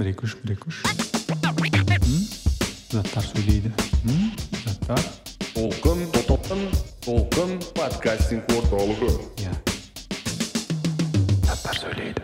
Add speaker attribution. Speaker 1: Brekuş brekuş. Hı? Zattar söyleydi. Hı? Zattar.
Speaker 2: Толқын толқын толқын подкастинг орталығы
Speaker 1: Ya. Zattar söyleydi.